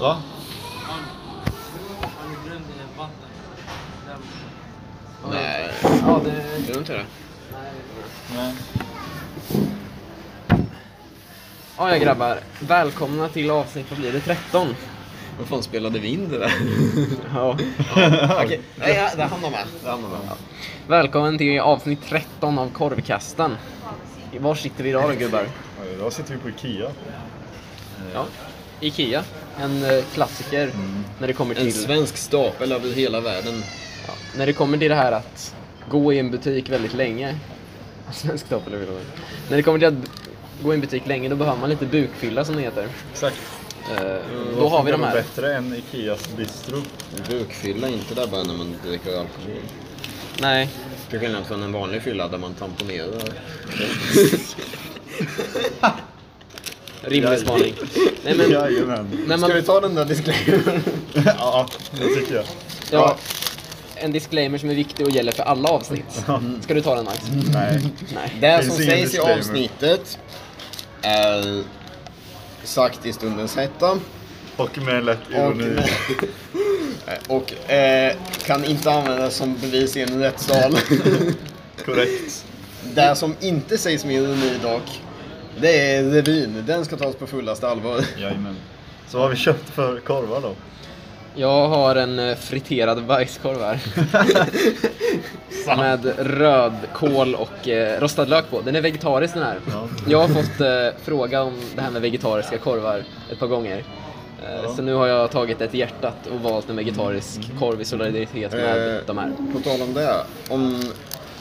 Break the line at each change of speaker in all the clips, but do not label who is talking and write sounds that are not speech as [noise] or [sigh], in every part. Va?
Han, han är glömd i vatten. Glömd.
Nej.
Ja, det...
Gör du inte det?
Nej.
Nej.
Ja, ja grabbar. Välkomna till avsnitt, vad blir det, 13? Vad fan spelade vi in det där? [laughs] ja. ja. Okej. Nej, ja, det hamnar med.
Det handlar om.
Välkommen till avsnitt 13 av Korvkasten. Var sitter vi idag då gubbar?
Ja, Idag sitter vi på Ikea.
Ja. Ikea. En eh, klassiker när det kommer till...
Mm. En svensk stapel över hela världen.
Ja, när det kommer till det här att gå i en butik väldigt länge. [laughs] Svensk topp eller vad När det kommer till att gå i en butik länge då behöver man lite bukfylla som det heter.
Exakt.
Eh,
Mm.
Och
då har
funkar
vi de
nog
här.
Bättre än Ikeas bistro.
Bukfylla inte där bara när man dricker alkohol.
Nej.
Till skillnad från en vanlig fylla där man tamponerar.
Rimlig spaning. Nej
[laughs]
men,
Jajamän.
när man,
Ska vi ta den där disclaimern?
[laughs] ja, det tycker jag.
ja, en disclaimer som är viktig och gäller för alla avsnitt. Ska du ta den Max?
Nej.
Nej.
Mm. Det [laughs]
Finns
som
ingen
sägs i
disclaimer.
avsnittet är sagt i stundens hetta
Och med en lätt
och,
ironi.
[laughs] och eh, kan inte användas som bevis i en [laughs] rättssal.
Korrekt.
det som inte sägs med ironi dock, det är revyn. Den ska tas på fullaste allvar.
Jajamän. Så vad har vi köpt för korvar då?
Jag har en eh, friterad bajskorv
[laughs]
här. Med rödkål och eh, rostad lök på. Den är vegetarisk den här.
Ja.
Jag har fått eh, fråga om det här med vegetariska korvar ett par gånger. Eh,
Ja. Mm.
Så nu har jag tagit ett hjärtat och valt en vegetarisk korv i solidaritet med
Eh,
de här.
På tal om det, om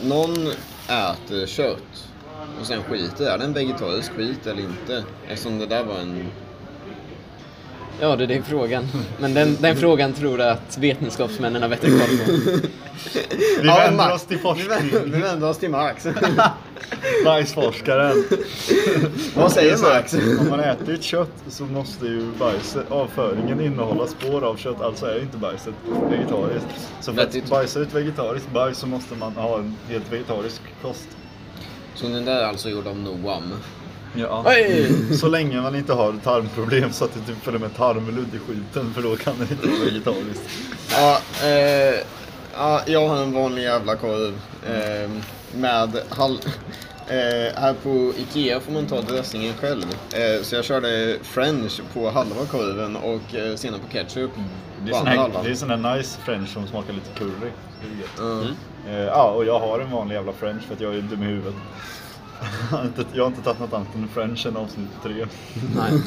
någon äter kött och sen skiter, är det en vegetarisk skit eller inte? Eftersom det där var [laughs] en...
Ja, det är det frågan. Men den, den frågan tror jag att vetenskapsmännen har bättre koll på.
Vi
Ja,
vänder
Max.
oss till
Vi
forskning.
vänder, vi vänder oss till Max.
Bajsforskaren.
[laughs] Vad säger Max?
Om man äter ett kött så måste ju bajset, avföringen innehålla spår av kött, alltså är inte bajset vegetariskt. Så för
Nej, det är
att
inte-
bajsa ut vegetariskt bajs så måste man ha en helt vegetarisk kost.
[laughs] Så den där är alltså gjord av Noam.
Ja.
Oj!
[laughs] Så länge man inte har tarmproblem så att det typ följer med tarmludd i skiten för då kan det inte vara vegetariskt.
Ja, eh, ja, jag har en vanlig jävla korv. Eh, med hal- [laughs] eh, här på Ikea får man ta dressingen själv. Eh, så jag körde french på halva korven och eh, senare på ketchup.
Det
på
är, sån
andra
här,
halvan.
det är sån här nice french som smakar lite curry. Det är gött.
Mm.
Eh, Ja, och jag har en vanlig jävla french för att jag är dum i huvudet. [laughs] Jag har inte- jag har inte tagit något annat än french än avsnitt tre.
Nej.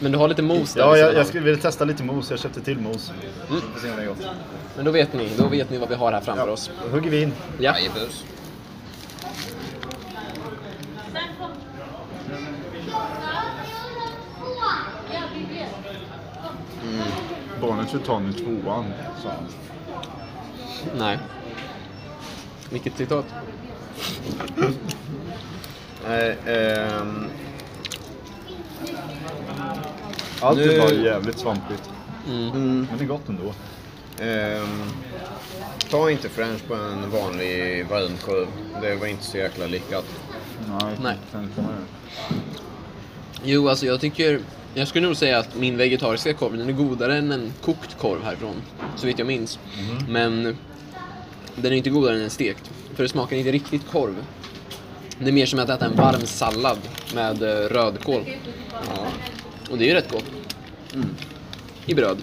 Men du har lite mos där
Ja,
vid
jag,
sidan
jag
av.
skulle vilja testa lite mos. Jag köpte till mos. Får se om det är gott.
Men då vet ni, då vet ni vad vi har här framför
Ja,
oss.
då hugger vi in.
Ja.
Jajebus.
Barnet vill ta nu tvåan, sa han.
Nej. Vilket citat?
Nej, ehm,
Allt
Nu-
är bara jävligt svampigt.
mm,
Men det är gott ändå.
ehm, ta inte french på en vanlig varmkorv. Det var inte så jäkla lyckat.
Nej.
Nej.
sen får man ju-
Jo, alltså jag tycker... Jag skulle nog säga att min vegetariska korv, den är godare än en kokt korv härifrån. Så vitt jag minns. Men den är inte godare än en stekt. För det smakar inte riktigt korv. Det är mer som att äta en varm sallad med eh, rödkål. Och det är ju rätt gott. Mm. I bröd.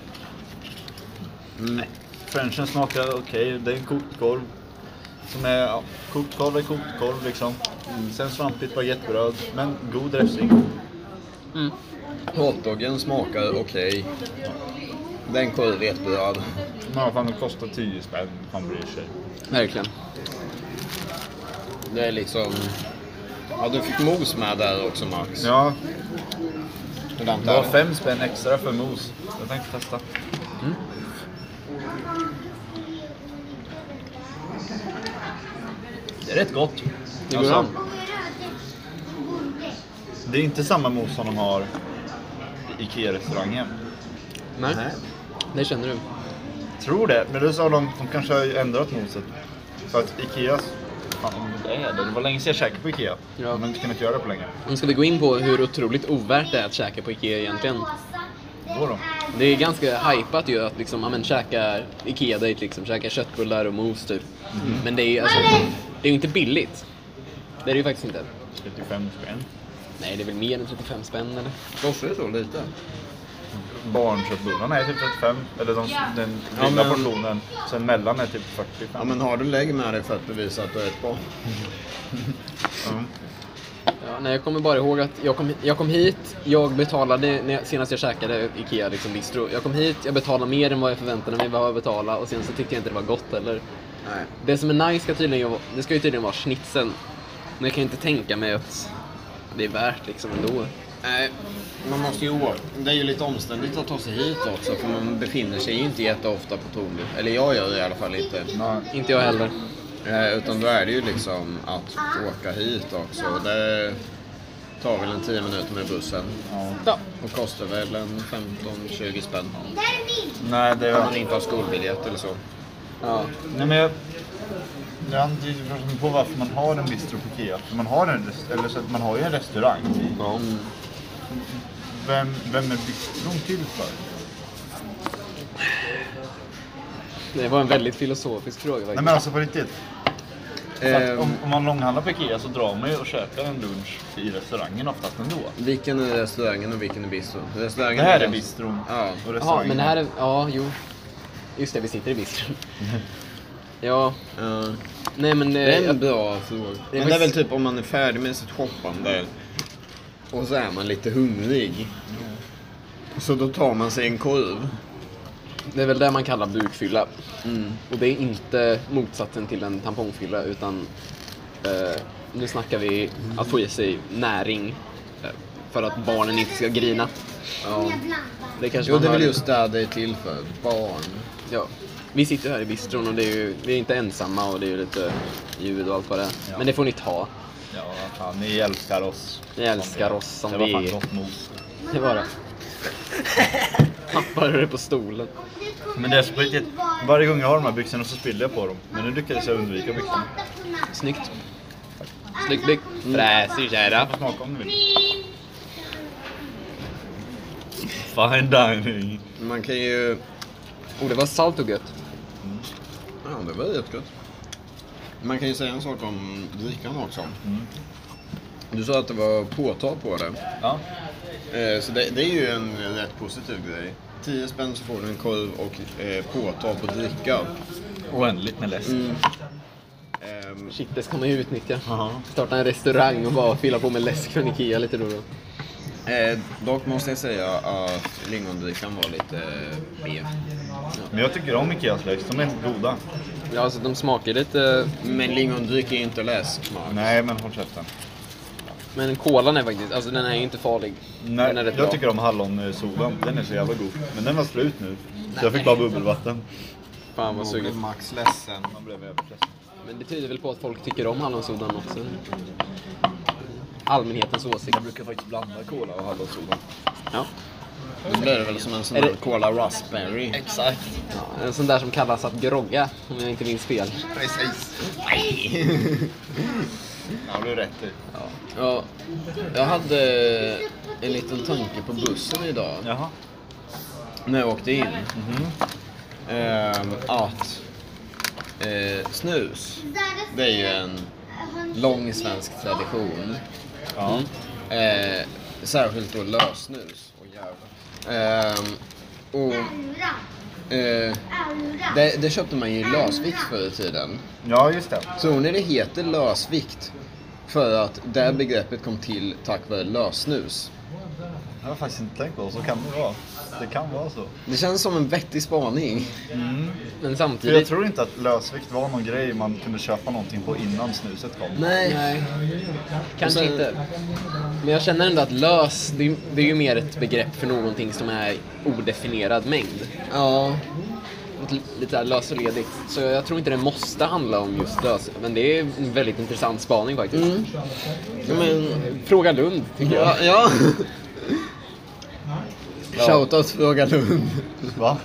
Nej. Frenchen smakar okej. Det är en kokt korv. Som är, ja, kokt korv är kokt korv liksom. Sen svampigt baguettebröd. Men god dressing.
Hotdoggen smakar okej. Den korv är jättebröd.
Men fan, det kostar 10 spänn. Han bryr sig.
Verkligen.
Det är liksom... Ja, du fick mos med där också Max.
Ja,
Det
det var 5 spänn extra för mos. Jag tänkte testa. Mm. Det är rätt gott.
Det går
Alltså,
an.
Det är inte samma mos som de har i Ikea-restaurangen.
Nej. Det känner du.
Tror det, men det sa de, de kanske har ändrat moset. För att Ikeas... Fan, det är det. Det var länge sedan jag käkade på Ikea.
Ja.
Men vi kan inte göra det på länge.
Nu ska vi gå in på hur otroligt ovärt det är att käka på Ikea egentligen.
Då då?
Det är ganska hypat ju att liksom, ja, men, käka Ikea-dejt, liksom, käka köttbullar och mos typ. Men det är ju alltså, det är ju inte billigt. Det är det ju faktiskt inte.
35 spänn.
Nej, det är väl mer än 35 spänn eller?
Kostar det så lite?
Barnköttbullarna är typ 35, eller de, den
Ja,
lilla
men-
portionen. Sen mellan är typ 45.
Ja men har du lägg med dig för att bevisa att du är ett barn?
Mm.
Ja, nej, jag kommer bara ihåg att jag kom, jag kom hit, jag betalade, när jag, senast jag käkade Ikea liksom bistro, jag kom hit, jag betalade mer än vad jag förväntade mig vad jag betala och sen så tyckte jag inte det var gott eller.
Nej.
Det som är nice ska tydligen, vara- det ska ju tydligen vara schnitzeln. Men jag kan ju inte tänka mig att det är värt liksom ändå.
Nej, man måste ju åka. Det är ju lite omständigt att ta sig hit också för man befinner sig ju inte jätteofta på Tornby. Eller jag gör det i alla fall inte.
Nej.
Inte jag heller.
Eh, Utan då är det ju liksom att åka hit också. Och Det tar väl en 10 minuter med bussen.
Ja.
Ja.
Och kostar väl en 15-20 spänn.
Nej, det
Om man
är...
inte har skolbiljett eller så.
ja.
Nej, men jag... Jag antyder förstås på varför man har en bistro på Ikea. För Man har, en, rest- eller så att man har ju en restaurang.
Ja.
Mm.
Vem, vem är bistron till för?
Det var en väldigt filosofisk fråga faktiskt.
Nej men alltså på riktigt. Så att
Ehm.
om, om man långhandlar på Ikea så drar man ju och käkar en lunch i restaurangen oftast ändå.
Vilken är restaurangen och vilken är bistron? Restaurangen
Det här är
kanske-
bistron.
Ja.
Och
Jaha,
restaurangen.
men det här är, ja, jo. Just det, vi sitter i bistron.
[laughs]
ja,
Ja.
nej men eh, det,
Det är en
jag,
bra fråga. Men det är väl typ om man är färdig med sitt shoppande och så är man lite hungrig. Så då tar man sig en korv.
det är väl det man kallar bukfylla.
Mm.
Och det är inte motsatsen till en tampongfylla utan eh, nu snackar vi att få i sig näring eh, för att barnen inte ska grina.
Ja.
Det kanske
Jo,
man
det är väl
hör-
just det det är till för. Barn.
Ja. Vi sitter här i bistron och det är ju, vi är inte ensamma och det är ju lite ljud och allt vad det är.
Ja.
Men det får ni ta.
Ja, fan, ni älskar oss.
Ni älskar oss som
det
vi
Det var
är.
fan gott mos.
Det var det. Tappade du det på stolen?
Men det är så på riktigt. Varje gång jag har de här byxorna så spiller jag på dem. Men nu lyckades jag undvika byxorna.
Snyggt. Mm. Snygg blick. Fräsig kära.
Du får smaka om du vill. Fine dining.
Man kan ju...
Oh, det var salt och gött.
Ja, det var jättegott. Man kan ju säga en sak om drickan också.
Mm.
Du sa att det var påtag på det.
Ja.
Eh, Så det, det är ju en rätt positiv grej. 10 spänn så får du en korv och eh, påtag på dricka.
Oändligt med läsk.
Mm.
Ehm,
Shit, det ska man ju utnyttja.
Ja.
Starta en restaurang och bara fylla på med läsk från Ikea lite då och då.
Eh, dock måste jag säga att lingondrickan var lite mer.
Men jag tycker om Ikeas läsk. De är goda.
Ja, alltså de smakar lite...
Men lingondryck är ju inte läsk.
Nej, men håll käften.
Men kolan är faktiskt... Alltså den är ju inte farlig.
Nej,
den är rätt
jag
bra.
tycker om hallonsodan. Den är så jävla god. Men den var slut nu. Så jag fick bara bubbelvatten.
Fan vad suget.
Max ledsen.
Man blev överstressad.
Men det tyder väl på att folk tycker om hallonsodan också. Allmänhetens åsikt.
Jag brukar faktiskt blanda cola och hallonsoda.
Ja.
Då blir det väl som en sån
Är
här
det-
Cola Raspberry.
Exakt.
ja. En sån där som kallas att grogga, om jag inte minns fel.
Precis.
Ja, du är rätt typ. i.
ja, [laughs] jag hade en liten tanke på bussen idag.
Jaha.
när jag åkte in. Mm-hmm. Ehm, att eh, snus, det är ju en lång svensk tradition.
Ja.
Eh, särskilt då lössnus. Åh, jävlar. Ehm, och eh, det, det köpte man ju i lösvikt förr i tiden.
Ja, just det.
Tror ni det heter lösvikt? För att det begreppet kom till tack vare lössnus.
Jag har faktiskt inte tänkt på. Så kan det vara. Det kan vara så.
Det känns som en vettig spaning.
Men
För jag
samtidigt...
tror inte att lösvikt var någon grej man kunde köpa någonting på innan snuset kom.
Nej, kanske
sen-
inte. Men jag känner ändå att lös, det är, det är ju mer ett begrepp för någonting som är odefinierad mängd.
Ja,
Något li- Lite så här lös och ledigt. Så jag tror inte det måste handla om just lös. Men det är en väldigt intressant spaning faktiskt.
men Mm.
Fråga Lund, tycker jag.
Ja, ja. Shoutout Fråga Lund.
Va?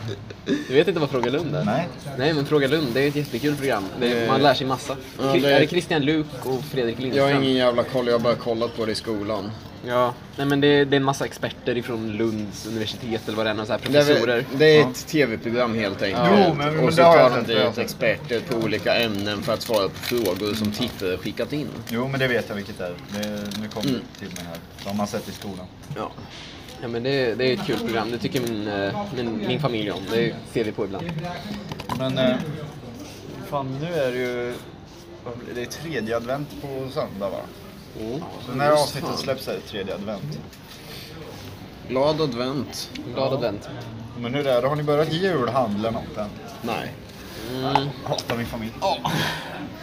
Du vet inte vad Fråga Lund är?
Nej.
Nej, men Fråga Lund, det är ett jättekul program. Det,
Eh,
man lär sig massa.
ja,
Kri-
det-
Är det Christian Luuk och Fredrik
Jag
Lindström?
har ingen jävla koll, jag har bara kollat på det i skolan.
Ja, nej men det, det är en massa experter ifrån Lunds universitet eller vad det är, några så här
Det är,
professorer.
väl- det är ett tv-program helt enkelt.
Jo, men- men
och så
det har jag
tar de
sett, det har jag
dit
sett.
experter på olika ämnen för att svara på frågor som tittare skickat in.
Jo, men det vet jag vilket det är. Det, nu kom
Mm.
det till mig här. Det har man sett i skolan.
Ja. Ja men det, det är ett kul program, det tycker min, eh, min, min familj om. Det ser vi på ibland.
Men... Eh, fan, nu är det ju... vad blir Det Det är tredje advent på söndag, va?
Mm.
Så när
Just
avsnittet
fan.
släpps är det tredje advent.
Glad advent.
Glad advent.
Men hur är det? Har ni börjat julhandla något än?
Nej.
Mm.
Hatar min familj.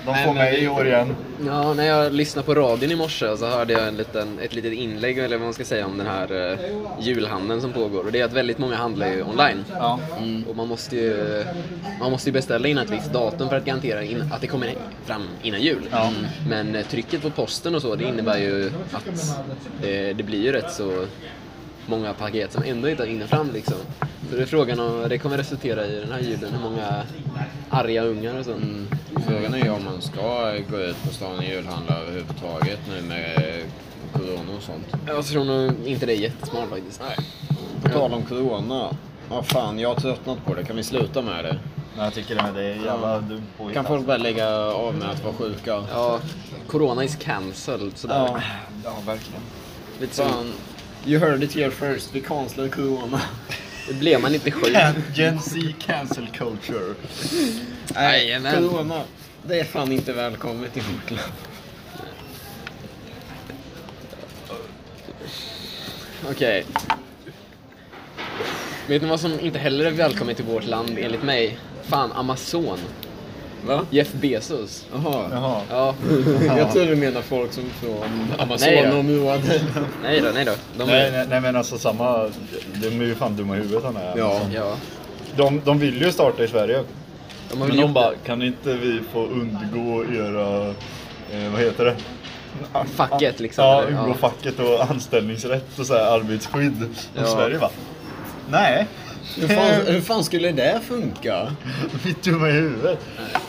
De
Nej,
får
men
mig
det-
i år igen.
Ja, när jag lyssnade på radion i morse så hörde jag en liten, ett litet inlägg eller vad man ska säga om den här eh, julhandeln som pågår. Och det är att väldigt många handlar ju online.
Ja.
Mm. Och man måste ju, man måste ju beställa in ett visst datum för att garantera in, att det kommer fram innan jul.
Ja.
Mm. Men eh, trycket på posten och så, det innebär ju att eh, det blir ju rätt så många paket som ändå inte hinner fram liksom. Så det är frågan om, det kommer resultera i den här julen, hur många arga ungar och så.
Mm. Frågan är ju om man ska gå ut på stan och julhandla överhuvudtaget nu med eh, corona och sånt.
Jag tror nog inte det är jättesmart faktiskt.
På tal om corona. Ja fan, jag har tröttnat på det. Kan vi sluta med det?
Nej, jag tycker det med det är jävla dumt påhitt. alltså.
Kan folk bara lägga av med att vara sjuka?
Ja, corona is cancelled sådär.
Ja.
Ja, verkligen.
Lite så.
Fan, you heard it here first. Vi cancelar corona.
Blev man inte sjuk?
Gen Z cancel culture.
[laughs] Nej,
Jajamän.
corona. Det är fan inte välkommet i vårt land.
Okej. Vet ni vad som inte heller är välkommet till vårt land enligt mig? Fan, Amazon.
Va?
Jeff Bezos.
Jaha.
Jaha. [laughs]
Ja.
Jag tror du menar folk som från Amazonområdet.
Nej då, nej då. De
Nej, nej, nej men alltså samma, de är ju fan dumma i huvudet han är.
Ja.
Alltså,
Ja.
De, de vill ju starta i Sverige.
De
Men
har väl
de
gjort
bara, kan inte vi få undgå era, eh, vad heter det? A-
Facket, liksom,
Ja,
eller?
undgå
Ja.
facket och anställningsrätt och så här arbetsskydd. Och
Ja.
Sverige bara, nej.
Hur fan,
[laughs]
hur fan skulle det funka?
Vi är dumma i huvudet.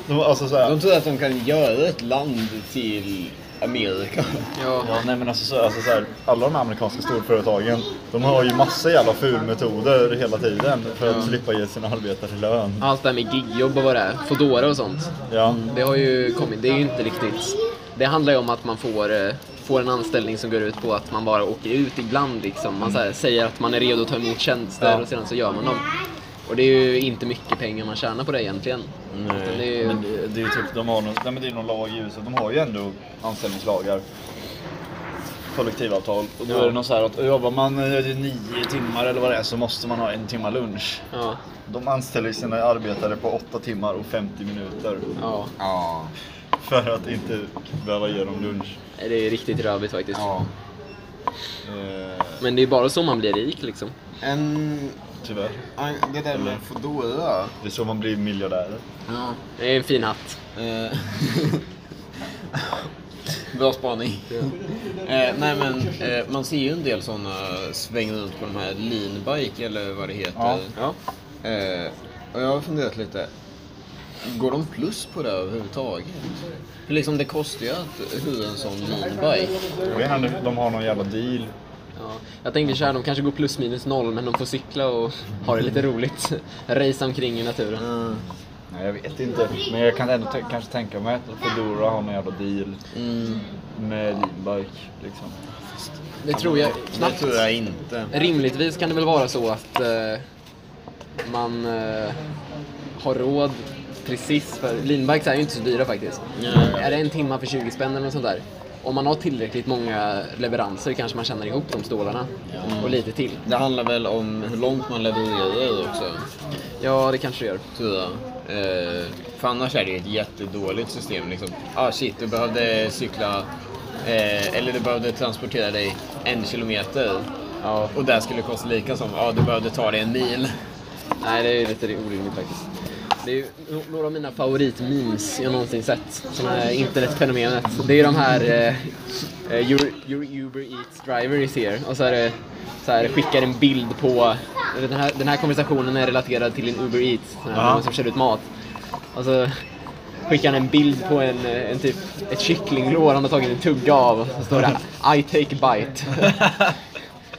De, alltså så här,
De tror att de kan göra ett land till Amerika.
Ja.
Ja, nej men alltså, så, alltså så här, alla de här amerikanska storföretagen, de har ju massa jävla fulmetoder hela tiden för att slippa ge sina arbetare lön.
Allt det här med gigjobb och vad det är. Foodora och sånt.
Ja,
Det har ju kommit. Det är ju inte riktigt... Det handlar ju om att man får, eh, får en anställning som går ut på att man bara åker ut ibland liksom. Man så här, säger att man är redo att ta emot tjänster
Ja.
och sedan så gör man dem. Och det är ju inte mycket pengar man tjänar på det egentligen. Utan det är ju-
men det, det är ju typ, de har någon, nej, men det är någon lag i USA, de har ju ändå anställningslagar. Kollektivavtal. Och då
Ja.
är det någon så här att jobbar man eh, nio timmar eller vad det är så måste man ha en timma lunch.
Ja,
De anställer sina arbetare på åtta timmar och 50 minuter.
ja.
Ja.
För att inte behöva ge dem lunch.
Det är riktigt rövigt faktiskt.
ja.
Eh,
Men det är bara så man blir rik liksom.
En,
tyvärr.
en, det där med Foodora.
Det är så man blir miljardär.
Ja.
Det är en fin hatt.
Eh, [laughs] Bra spaning. Eh, nej men eh, man ser ju en del sådana sväng runt på de här leanbike eller vad det heter.
Ja.
Eh, och jag har funderat lite. Går de plus på det överhuvudtaget? För liksom det kostar ju att hyra en sån leanbike.
Jag vet inte, om de har någon jävla deal.
ja. Jag tänker så här, de kanske går plus minus noll men de får cykla och ha det lite roligt. [laughs] Racea omkring i naturen.
Mm.
Nej, jag vet inte. Men jag kan ändå t- kanske tänka mig att Foodora har någon jävla deal
Mm.
med Leanbike. Liksom.
Det tror jag
Det
knappt.
tror jag inte.
Rimligtvis kan det väl vara så att eh, man eh, har råd precis för... Leanbikes är ju inte så dyra faktiskt.
Nej.
Är det en timma för 20 spänn eller något sånt där? Om man har tillräckligt många leveranser kanske man tjänar ihop de stålarna. Och lite till.
Det handlar väl om hur långt man levererar också.
Ja, det kanske det gör.
tror jag. Eh, för annars är det ju ett jättedåligt system. Liksom. Ah shit, du behövde cykla eh, eller du behövde transportera dig en kilometer.
Ja.
Och det skulle kosta lika som ah, du behövde ta dig en mil.
Nej, det är lite orimligt faktiskt. Det är ju no- några av mina favoritmemes jag någonsin sett. Som är internetfenomenet. Det är de här eh, eh, your, your Uber Eats driver is here. Och så är det så här, skickar en bild på den här, den här konversationen är relaterad till en Uber Eats. Den här
Ja.
någon som kör ut mat. Och så skickar han en bild på en, eh, en typ, ett kycklinglår han har tagit en tugga av. Och så står det här, I take bite.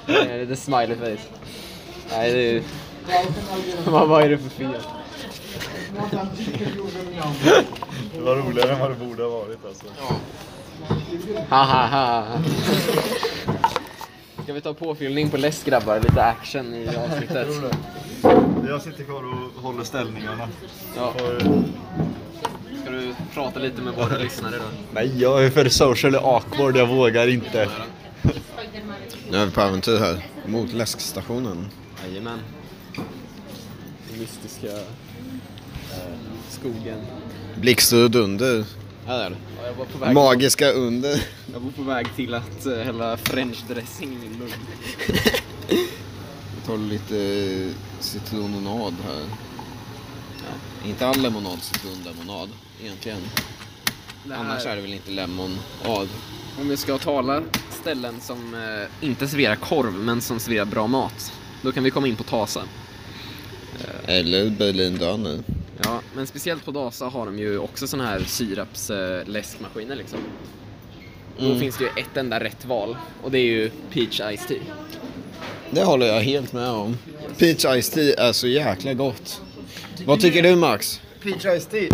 Eh, The smiley face. Nej, det är... [laughs] vad, vad är det för fel?
Det var roligare än vad det borde ha varit alltså.
Ha, ha, ha. Ska vi ta påfyllning på läsk grabbar? Lite action [laughs] i avsnittet.
Jag tror det. Jag sitter kvar och håller ställningarna.
Ja.
För-
Ska du prata lite med våra lyssnare då?
Nej, jag är för social awkward, jag vågar inte.
Nu är vi på äventyr här, mot läskstationen.
Jajamän. Den mystiska eh, skogen.
Blixtar och dunder.
Ja, det är det. Ja, jag var på väg.
Magiska under.
Jag var på väg till att eh, hälla french dressing i min [laughs] mun.
Jag tar lite citrononad här. Inte all lemonad, citronlemonad egentligen.
Det här-
Annars är det väl inte lemonad.
Om vi ska tala ställen som eh, inte serverar korv, men som serverar bra mat. Då kan vi komma in på Tasa.
Eller Berlin Döner.
Ja, men speciellt på Dasa har de ju också såna här sirapsläskmaskiner liksom. Då
Mm.
finns det ju ett enda rätt val och det är ju peach ice tea.
Det håller jag helt med om. Peach Ice Tea är så jäkla gott. Vad tycker du Max?
Peach Ice Tea.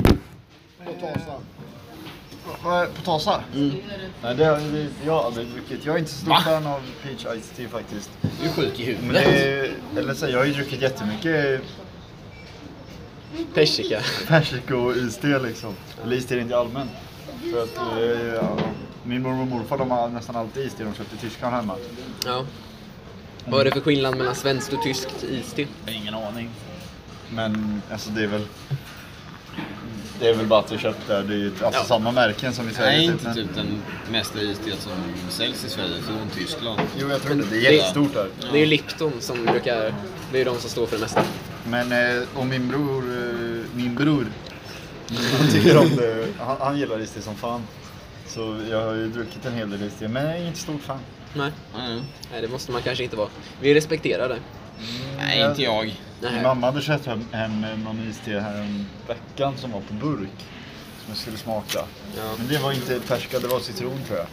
På Tasa. Vad- På Tasa? Nej, det har det- jag har aldrig druckit. Jag är inte så stor fan av Peach Ice Tea faktiskt.
Du är sjuk i
Men
huvudet.
det är, eller så, här, jag har ju druckit jättemycket
Persika.
persika och iste liksom. Eller iste är inte allmän. För att, eh, ja, min mormor och morfar de har nästan alltid iste de köpte i Tyskland hemma.
Ja. Vad är det för skillnad mellan svenskt och tyskt iste?
Jag har ingen aning. Men alltså det är väl... Det är väl bara att vi köpt där. Det är ju alltså, samma märken som i Sverige.
Nej,
typ,
inte
men-
typ den mesta iste som säljs i Sverige från Tyskland.
Jo, jag tror det. Det
Det-
är jättestort där.
Det är ju Lipton som brukar, det är ju de som står för det mesta.
Men eh, och min bror, eh, min bror, han tycker om det. Han, han gillar iste som fan. Så jag har ju druckit en hel del iste, men jag är inte stort fan.
Nej.
Mm.
Nej, det måste man kanske inte vara. Vi respekterar det.
Nej, inte jag.
Nej.
Min mamma hade köpt hem, hem någon iste här om veckan som var på burk. Som jag skulle smaka.
Ja.
Men det var inte persika, det var citron tror jag.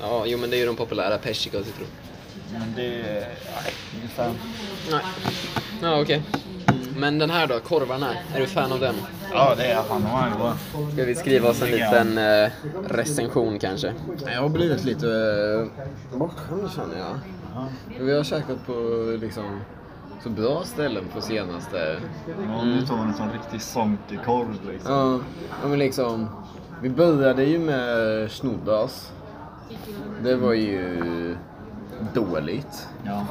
Ja, jo men det är ju de populära, persika och citron.
Men det, nej, ingen fan.
Nej. Ja, okej. Men den här då, korvarna, är du fan av den?
Ja, det är fan vad god.
Ska vi skriva oss en liten eh, recension kanske?
Jag har blivit lite eh, bortskämd känner jag. Vi har käkat på liksom så bra ställen på senaste.
Ja, nu tar man en sån riktig sonkerkorv liksom.
Ja, ja, men liksom. Vi började ju med Snoddas. Det var ju dåligt.
Ja.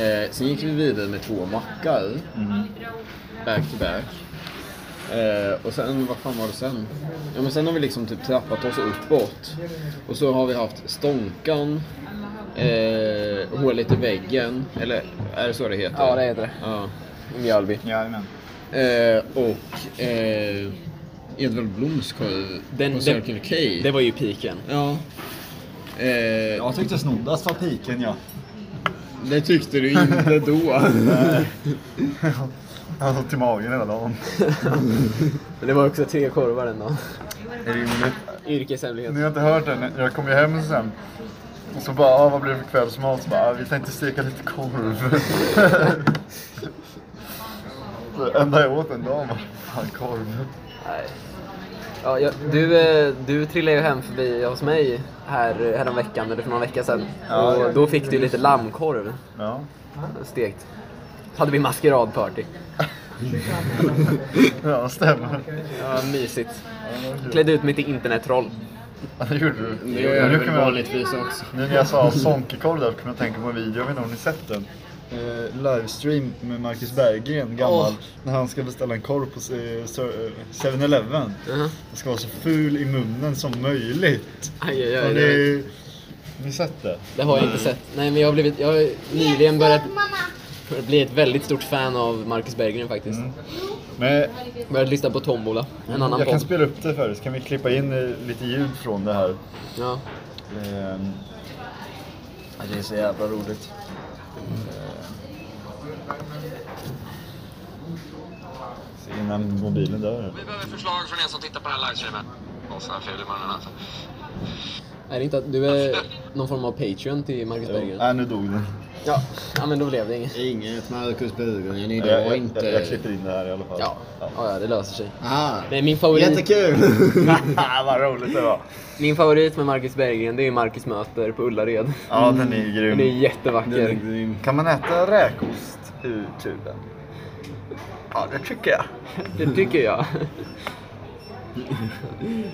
Eh, sen gick vi vidare med två mackar.
Mhm.
Back to back. Eh, och sen, vad fan var det sen? Ja men sen har vi liksom typ trappat oss uppåt. Och så har vi haft Stånkan. Eh, hålet i väggen. Eller är det så det heter?
Ja, det heter det.
Ja.
I Mjölby.
Jajamän.
Eh, och eh, Edvard Bloms korv
Den-
på
den-
Circle K.
Det var ju piken.
Ja. Eh,
Jag tyckte snoddas var piken ja.
Det tyckte du inte då.
Han har ont i Alltså, magen hela dagen.
Men det var också tre korvar den dagen.
Rimligt.
Yrkeshemlighet.
Ni har inte hört den. Jag kom ju hem sen. Och så bara, ah, vad blir det för kvällsmat? Så bara, ah, vi tänkte steka lite korv. [laughs] Det enda jag åt en dag var fan korv.
Nej. Ja, jag, du, eh, du trillade ju hem förbi hos mig här, eh, häromveckan, eller för någon vecka sedan.
Ja.
Och då fick du ju lite lammkorv
Ja.
stekt. Hade vi maskeradparty.
Ja, stämmer.
Ja, mysigt. Klädde ut mig till internettroll.
Ja, det gjorde du.
Det gör
Nu
jag
kommer
väl vanligtvis också.
Nu när jag sa sonkekorv där kom jag att tänka på en video, jag vet inte om ni sett den? Eh, livestream med Marcus Berggren, gammal, när han ska beställa en korv på eh, Sir- eh, 7-Eleven.
Mhm.
Den ska vara så ful i munnen som möjligt.
Aj, aj,
Har
aj, det,
ni, ni sett det?
det har jag inte sett. Nej, men jag har, blivit, jag har nyligen börjat
Mamma,
Börjar bli ett väldigt stort fan av Marcus Berggren faktiskt.
Men
Började lyssna på Tombola, en annan
Mm, jag kan
podd.
spela upp det för dig, så kan vi klippa in eh, lite ljud från det här.
ja.
Ehm, ja, Det är så jävla roligt. Ehm. Så Innan mobilen dör.
Vi behöver förslag från er som tittar på den här livestreamen. Och så här fel i munnen alltså.
Är det inte att du är någon form av Patreon till Marcus Berggren?
Nej, Äh, nu dog den.
Ja. ja, men då blev det inget.
Inget Marcus Berggren
Jag,
idag
jag,
inte.
jag, jag klipper in det här i alla fall.
Ja. ja, ja, det löser sig.
Ah,
Nej, min favorit-
[laughs] Jättekul!
[laughs] Vad roligt det var.
Min favorit med Marcus Berggren, det är Marcus möter på Ullared.
Ja, den är ju grym.
Den är jättevacker.
Kan man äta räkost ur tuben?
[laughs]
Ja, det tycker jag.
Det tycker jag.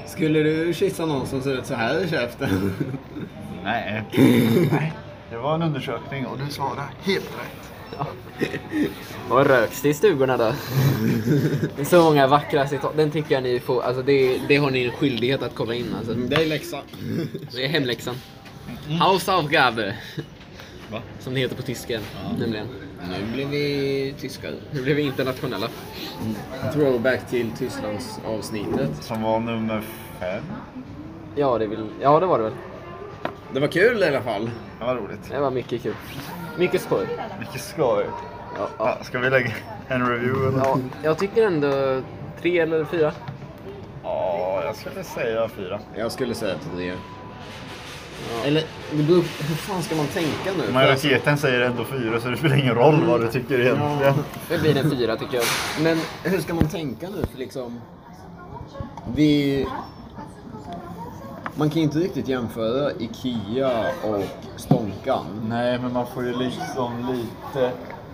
Skulle du kyssa någon som ser ut så här i käften? [laughs]
[laughs]
Nej. Det var en undersökning och du svarade helt rätt.
Vad röks det i stugorna
[laughs]
då? Det är så många vackra citat. Den tycker jag ni får, alltså det, det har ni en skyldighet att kolla in alltså.
Det är läxa.
Det är hemläxan.
Mm.
Hausaufgabe. Som det heter på tyska, nämligen.
Nu blir vi tyskar.
Nu blir vi internationella.
Mm. Throwback till Tysklands avsnittet.
Som var nummer fem.
Ja, det vill, ja, det var det väl.
Det var kul i alla fall.
Det var roligt.
Det var mycket kul. Mycket skoj.
Mycket skoj.
Ja, ja.
Ja, ska vi lägga en review eller?
ja, jag tycker ändå tre eller fyra.
Ja, jag skulle säga fyra.
Jag skulle säga till det. Eller, det beror på, hur fan ska man tänka nu?
Majoriteten säger ändå fyra så det spelar ingen roll vad du tycker egentligen.
Det blir en fyra tycker jag.
Men hur ska man tänka nu? För liksom, vi... Man kan ju inte riktigt jämföra IKEA och Stånkan.
Nej, men man får ju liksom lite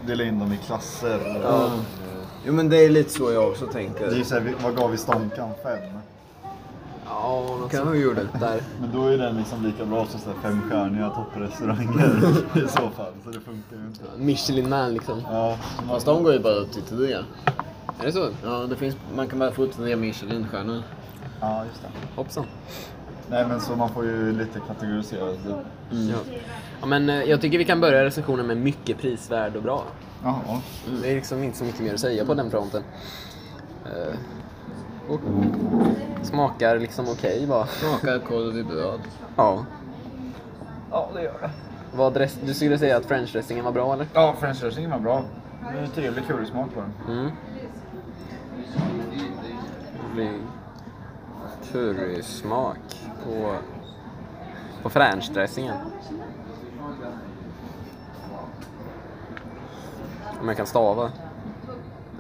dela in dem i klasser.
Ja. Jo men det är lite så jag också tänker.
Det är ju såhär, vad gav vi Stonkan? Fem?
Ja, något
Kan
sånt
vi gjorde.
där.
Men då är den liksom lika bra som så här femstjärniga topprestauranger [laughs] i så fall, så det funkar ju inte.
Michelin man liksom.
Ja,
Fast de går ju bara upp till tre.
Är det så?
Ja, det finns, man kan bara få upp tre Michelinstjärnor.
ja, just det.
Hoppsan.
Nej men så man får ju lite kategorisera. det.
Ja. Ja, men eh, jag tycker vi kan börja recensionen med mycket prisvärd och bra.
Jaha.
Det är liksom inte så mycket mer att säga på den fronten. Eh, och smakar liksom okej va?
Smakar korv i bröd.
[laughs] Ja. Ja, det gör det. Vad dress- du skulle säga att french dressingen var bra eller?
Ja, french dressingen var bra. Det är trevlig currysmak på den.
Mm. Currysmak på, på french dressingen. Om jag kan stava.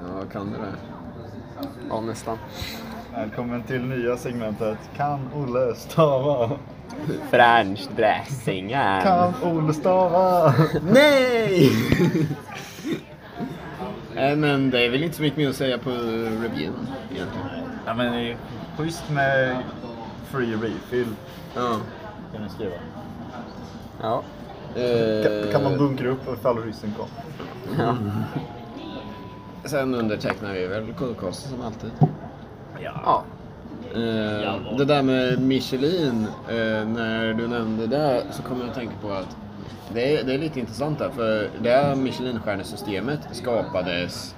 Ja, kan du det?
Ja, nästan.
Välkommen till nya segmentet Kan Olle stava?
French dressingen.
Kan Olle stava?
Nej! [laughs] Nej men det är väl inte så mycket mer att säga på reviewen egentligen.
Ja men det är schysst med free refill
Ja.
kan du skriva. Kan,
Ja.
kan
Eh,
man bunkra upp ifall ryssen kom?
Sen undertecknar vi väl Kulkosten som alltid.
ja.
Eh, det där med Michelin, eh, när du nämnde det så kom jag att tänka på att det är, det är lite intressant där, för det här Michelinstjärnesystemet skapades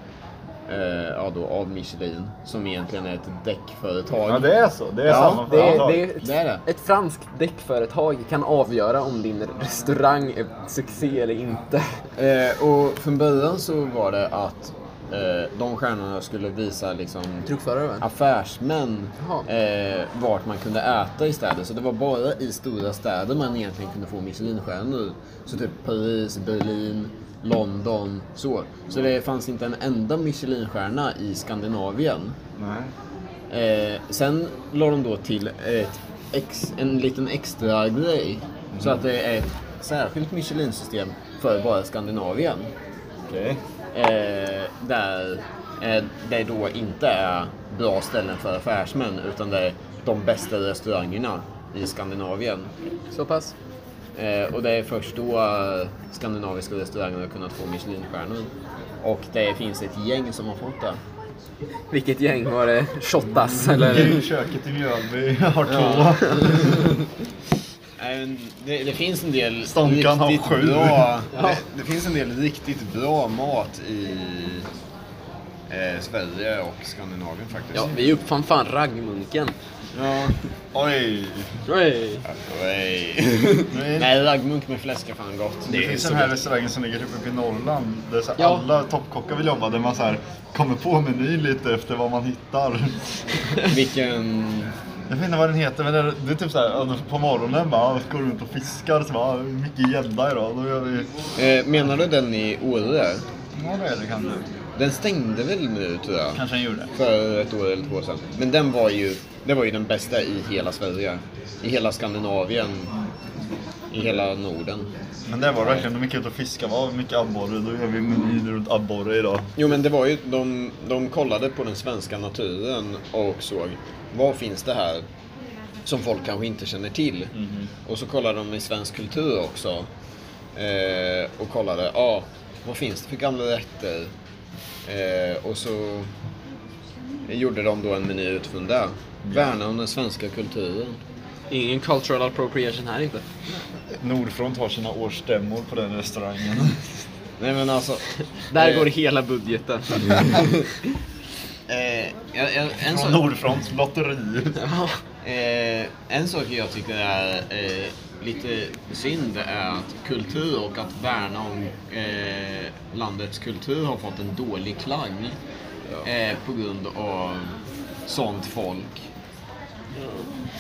eh, ja då, av Michelin, som egentligen är ett däckföretag.
Ja det är så, det är
Ja,
samma
Det, är-
företag.
det, är ett-
Det är det.
Ett franskt däckföretag kan avgöra om din restaurang är succé eller inte.
Eh, och från början så var det att eh, de stjärnorna skulle visa liksom
Truckförare va?
affärsmän
Jaha.
eh, vart man kunde äta i städer. Så det var bara i stora städer man egentligen kunde få Michelinstjärnor. Så typ Paris, Berlin, London, så. Så det fanns inte en enda Michelinstjärna i Skandinavien.
Nej.
Eh, sen la de då till ett ex, en liten extra grej. Så att det är ett särskilt Michelin-system för bara Skandinavien.
Okej.
Eh, där eh, det då inte är bra ställen för affärsmän utan det är de bästa restaurangerna i Skandinavien.
Så pass.
Eh, och det är först då eh, skandinaviska restauranger har kunnat få Michelinstjärnor. Och det finns ett gäng som har fått det.
Vilket gäng var det? Mm. Shottaz eller?
Grillköket i Mjölby har två.
Eh, Nej, men det, det finns en del
Stonkan har
riktigt
sju.
bra... det, det finns en del riktigt bra mat i eh, Sverige och Skandinavien faktiskt.
Ja, vi uppfann fan raggmunken.
Ja.
Oj!
Hey.
Nej. Nej, raggmunk med fläsk är fan gott.
Det, finns
så
den här
gott.
restaurangen som ligger typ uppe i Norrland där så här
Ja.
alla toppkockar vill jobba där man så här kommer på menyn lite efter vad man hittar.
Vilken...
Jag vet inte vad den heter men det är, det är typ så här ja, på morgonen bara går runt och fiskar så bara mycket gädda idag. Då gör vi...
Eh, menar du den i Åre?
Ja det är det kanske.
Den stängde väl nu tror jag?
Kanske den gjorde.
För ett år eller två år sedan. Men den var ju, det var ju den bästa i hela Sverige. I hela Skandinavien. I hela Norden.
Men det var verkligen, de gick ut och fiskade. Vad mycket abborre, då gör vi menyn runt abborre idag.
Jo men det var ju, de, de kollade på den svenska naturen och såg vad finns det här som folk kanske inte känner till. Och så kollade de i svensk kultur också. Eh, och kollade, ja, ah, vad finns det för gamla rätter? Eh, och så gjorde de då en meny utifrån det. Värna om den svenska kulturen.
Ingen cultural appropriation här inte.
Nordfront har sina årsstämmor på den restaurangen.
Nej men alltså.
Där
eh,
går hela budgeten.
eh, jag- jag-
Från
en sak-
Nordfronts lotteri.
Eh, en sak jag tycker är eh, lite synd är att kultur och att värna om eh, landets kultur har fått en dålig klang eh, på grund av sånt folk.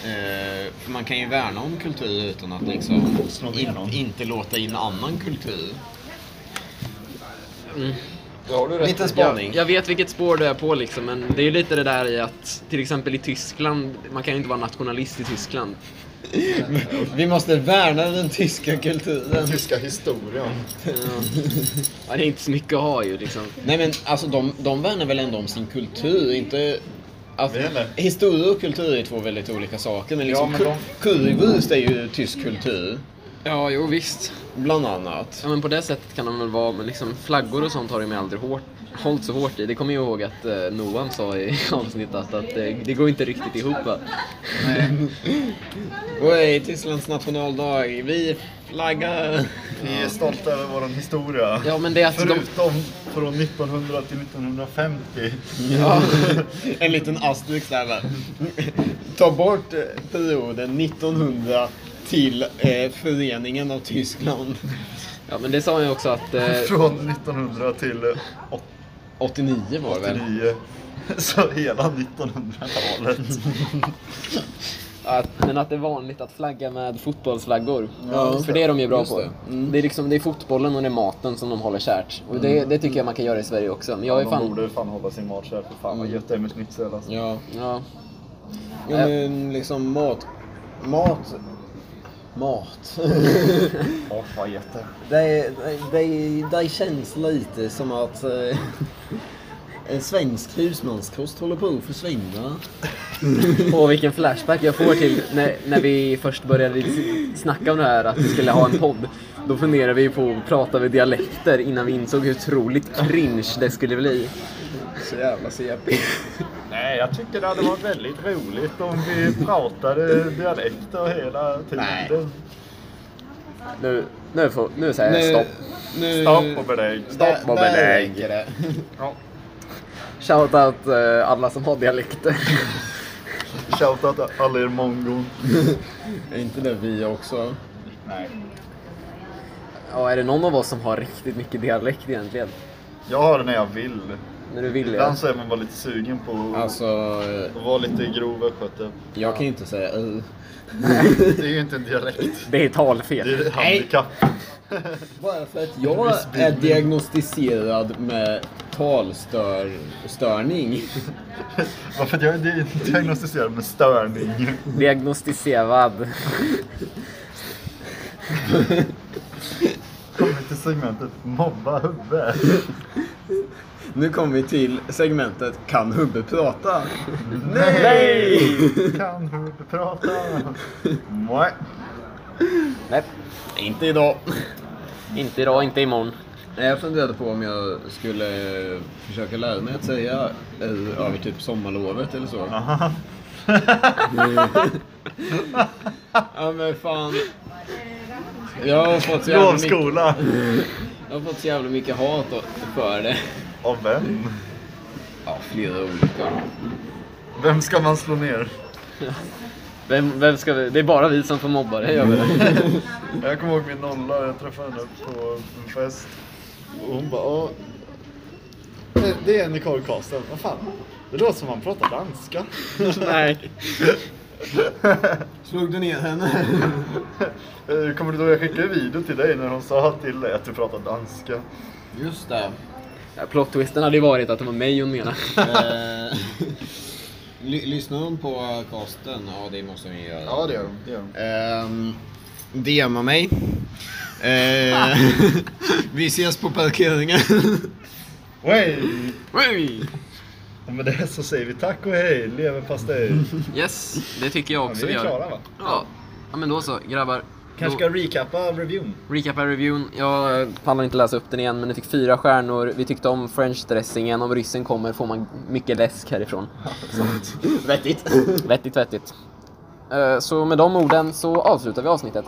Eh, för man kan ju värna om kultur utan att liksom
Slå ner någon.
in, inte låta in annan kultur. Mm.
har du
rätt Liten i. spaning.
Jag, jag vet vilket spår du är på liksom, men det är ju lite det där i att till exempel i Tyskland, man kan ju inte vara nationalist i Tyskland.
Vi måste värna den tyska kulturen.
Tyska historien.
Ja. Ja, det är inte så mycket att ha ju liksom.
Nej men alltså de, de värnar väl ändå om sin kultur, inte... Alltså,
Väl, eller?
historia och kultur är två väldigt olika saker, men liksom
men
ku-
de-
currywurst är ju tysk kultur,
Ja, jo visst.
bland annat.
Ja, men på det sättet kan de väl vara, men liksom flaggor och sånt har de ju aldrig hårt, hållit så hårt i. Det kommer jag ihåg att eh, Noam sa i [laughs] avsnittet att, att eh, det går inte riktigt ihop va?
Oj, Tysklands nationaldag, vi flaggar!
Vi är stolta över vår historia.
Ja, men det är att de...
Förutom från 1900 till 1950.
Eh.
[laughs] en liten asterisk där va. Ta bort eh, perioden 1900 till eh, föreningen av Tyskland.
Ja, men det sa han ju också att... Eh,
Från 1900 till
89 var det väl?
89. [laughs] Så hela [laughs] 1900-talet.
Att, men att det är vanligt att flagga med fotbollsflaggor.
Ja,
för det är de ju bra
just
på.
det.
Det. är liksom, det är fotbollen och det är maten som de håller kärt. Och det, det tycker jag man kan göra i Sverige också. Men jag är
De
fan...
borde fan hålla sin match här, för fan vad gött det är med schnitzel alltså.
Ja.
Ja.
Ja, men liksom mat... Mat... Mat.
Åh vad gött det är.
det, det, det känns lite som att eh, en svensk husmanskost håller på att försvinna.
Och vilken flashback jag får till när, när vi först började snacka om det här att vi skulle ha en podd. Då funderade vi på att prata med dialekter innan vi insåg hur otroligt cringe det skulle bli.
Så jävla CP.
Nej, jag tycker det hade varit väldigt roligt om vi pratade dialekter hela tiden.
Nej.
Nu, nu, får, nu säger jag stopp.
Nu,
Stopp och belägg.
Stopp och
Där- där
belägg.
räcker det.
Shoutout eh, alla som har dialekter.
Shoutout till alla er mongon.
Är inte det vi också?
Nej.
Ja, är det någon av oss som har riktigt mycket dialekt egentligen?
Jag har det när jag vill.
När du vill ja.
Ibland så är man bara lite sugen på att
Alltså, eh,
vara lite grov östgöte.
jag kan ju inte säga eh.
Det är ju inte en dialekt.
Det är
Det är
talfel.
ett handikapp.
Bara för att jag är diagnostiserad med talstörning.
Varför att jag är di- diagnostiserad med störning.
Diagnostiserad.
Kommer till segmentet mobba hubbe.
Nu kommer vi till segmentet Kan Hubbe prata?
Kan hubbe prata? Nej.
Nej,
Inte idag.
inte idag, inte imorgon.
Jag funderade på om jag skulle eh, försöka lära mig att säga eh, över typ sommarlovet eller så.
Aha.
Ja men fan. Jag har fått så jävla mycket,
Lovskola!
jag har fått så jävla mycket hat för det.
Av vem?
Ja, flera olika.
Vem ska man slå ner?
Vem, vem ska vi? Det är bara vi som får mobba dig. gör vi det?
Jag kommer ihåg min nolla, jag träffade henne på en fest. Och hon bara, "Åh, det- det är Nicole Karlström, vad fan. Det låter som han pratar danska.
[laughs] Nej.
Slog du ner henne?
Eh, Kommer du ihåg jag skickade en video till dig när hon sa till dig att du pratar danska?
Just [laughs] det.
Ja, Plot-twisten hade ju varit att det var mig hon menade.
Eh, [laughs] ly- Lyssnar hon på casten? Ja, det måste hon ju göra.
det gör de.
Ehm, DMa mig. Eh, [laughs] vi ses på parkeringen.
Hej!
Oj!
Och med det så säger vi tack och hej, leverpastej.
Yes, det tycker jag
Ja,
också
vi är
gör.
klara va?
Ja. ja, men då så grabbar.
Kanske ska recappa reviewn.
Recapa reviewn. Jag eh, pallar inte läsa upp den igen, men det fick fyra stjärnor. Vi tyckte om french dressingen. Om ryssen kommer får man mycket läsk härifrån. vettigt. vettigt, vettigt. Eh, Så med de orden så avslutar vi avsnittet.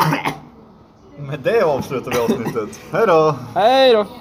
Med det avslutar vi avsnittet. Hej då!
Hej då!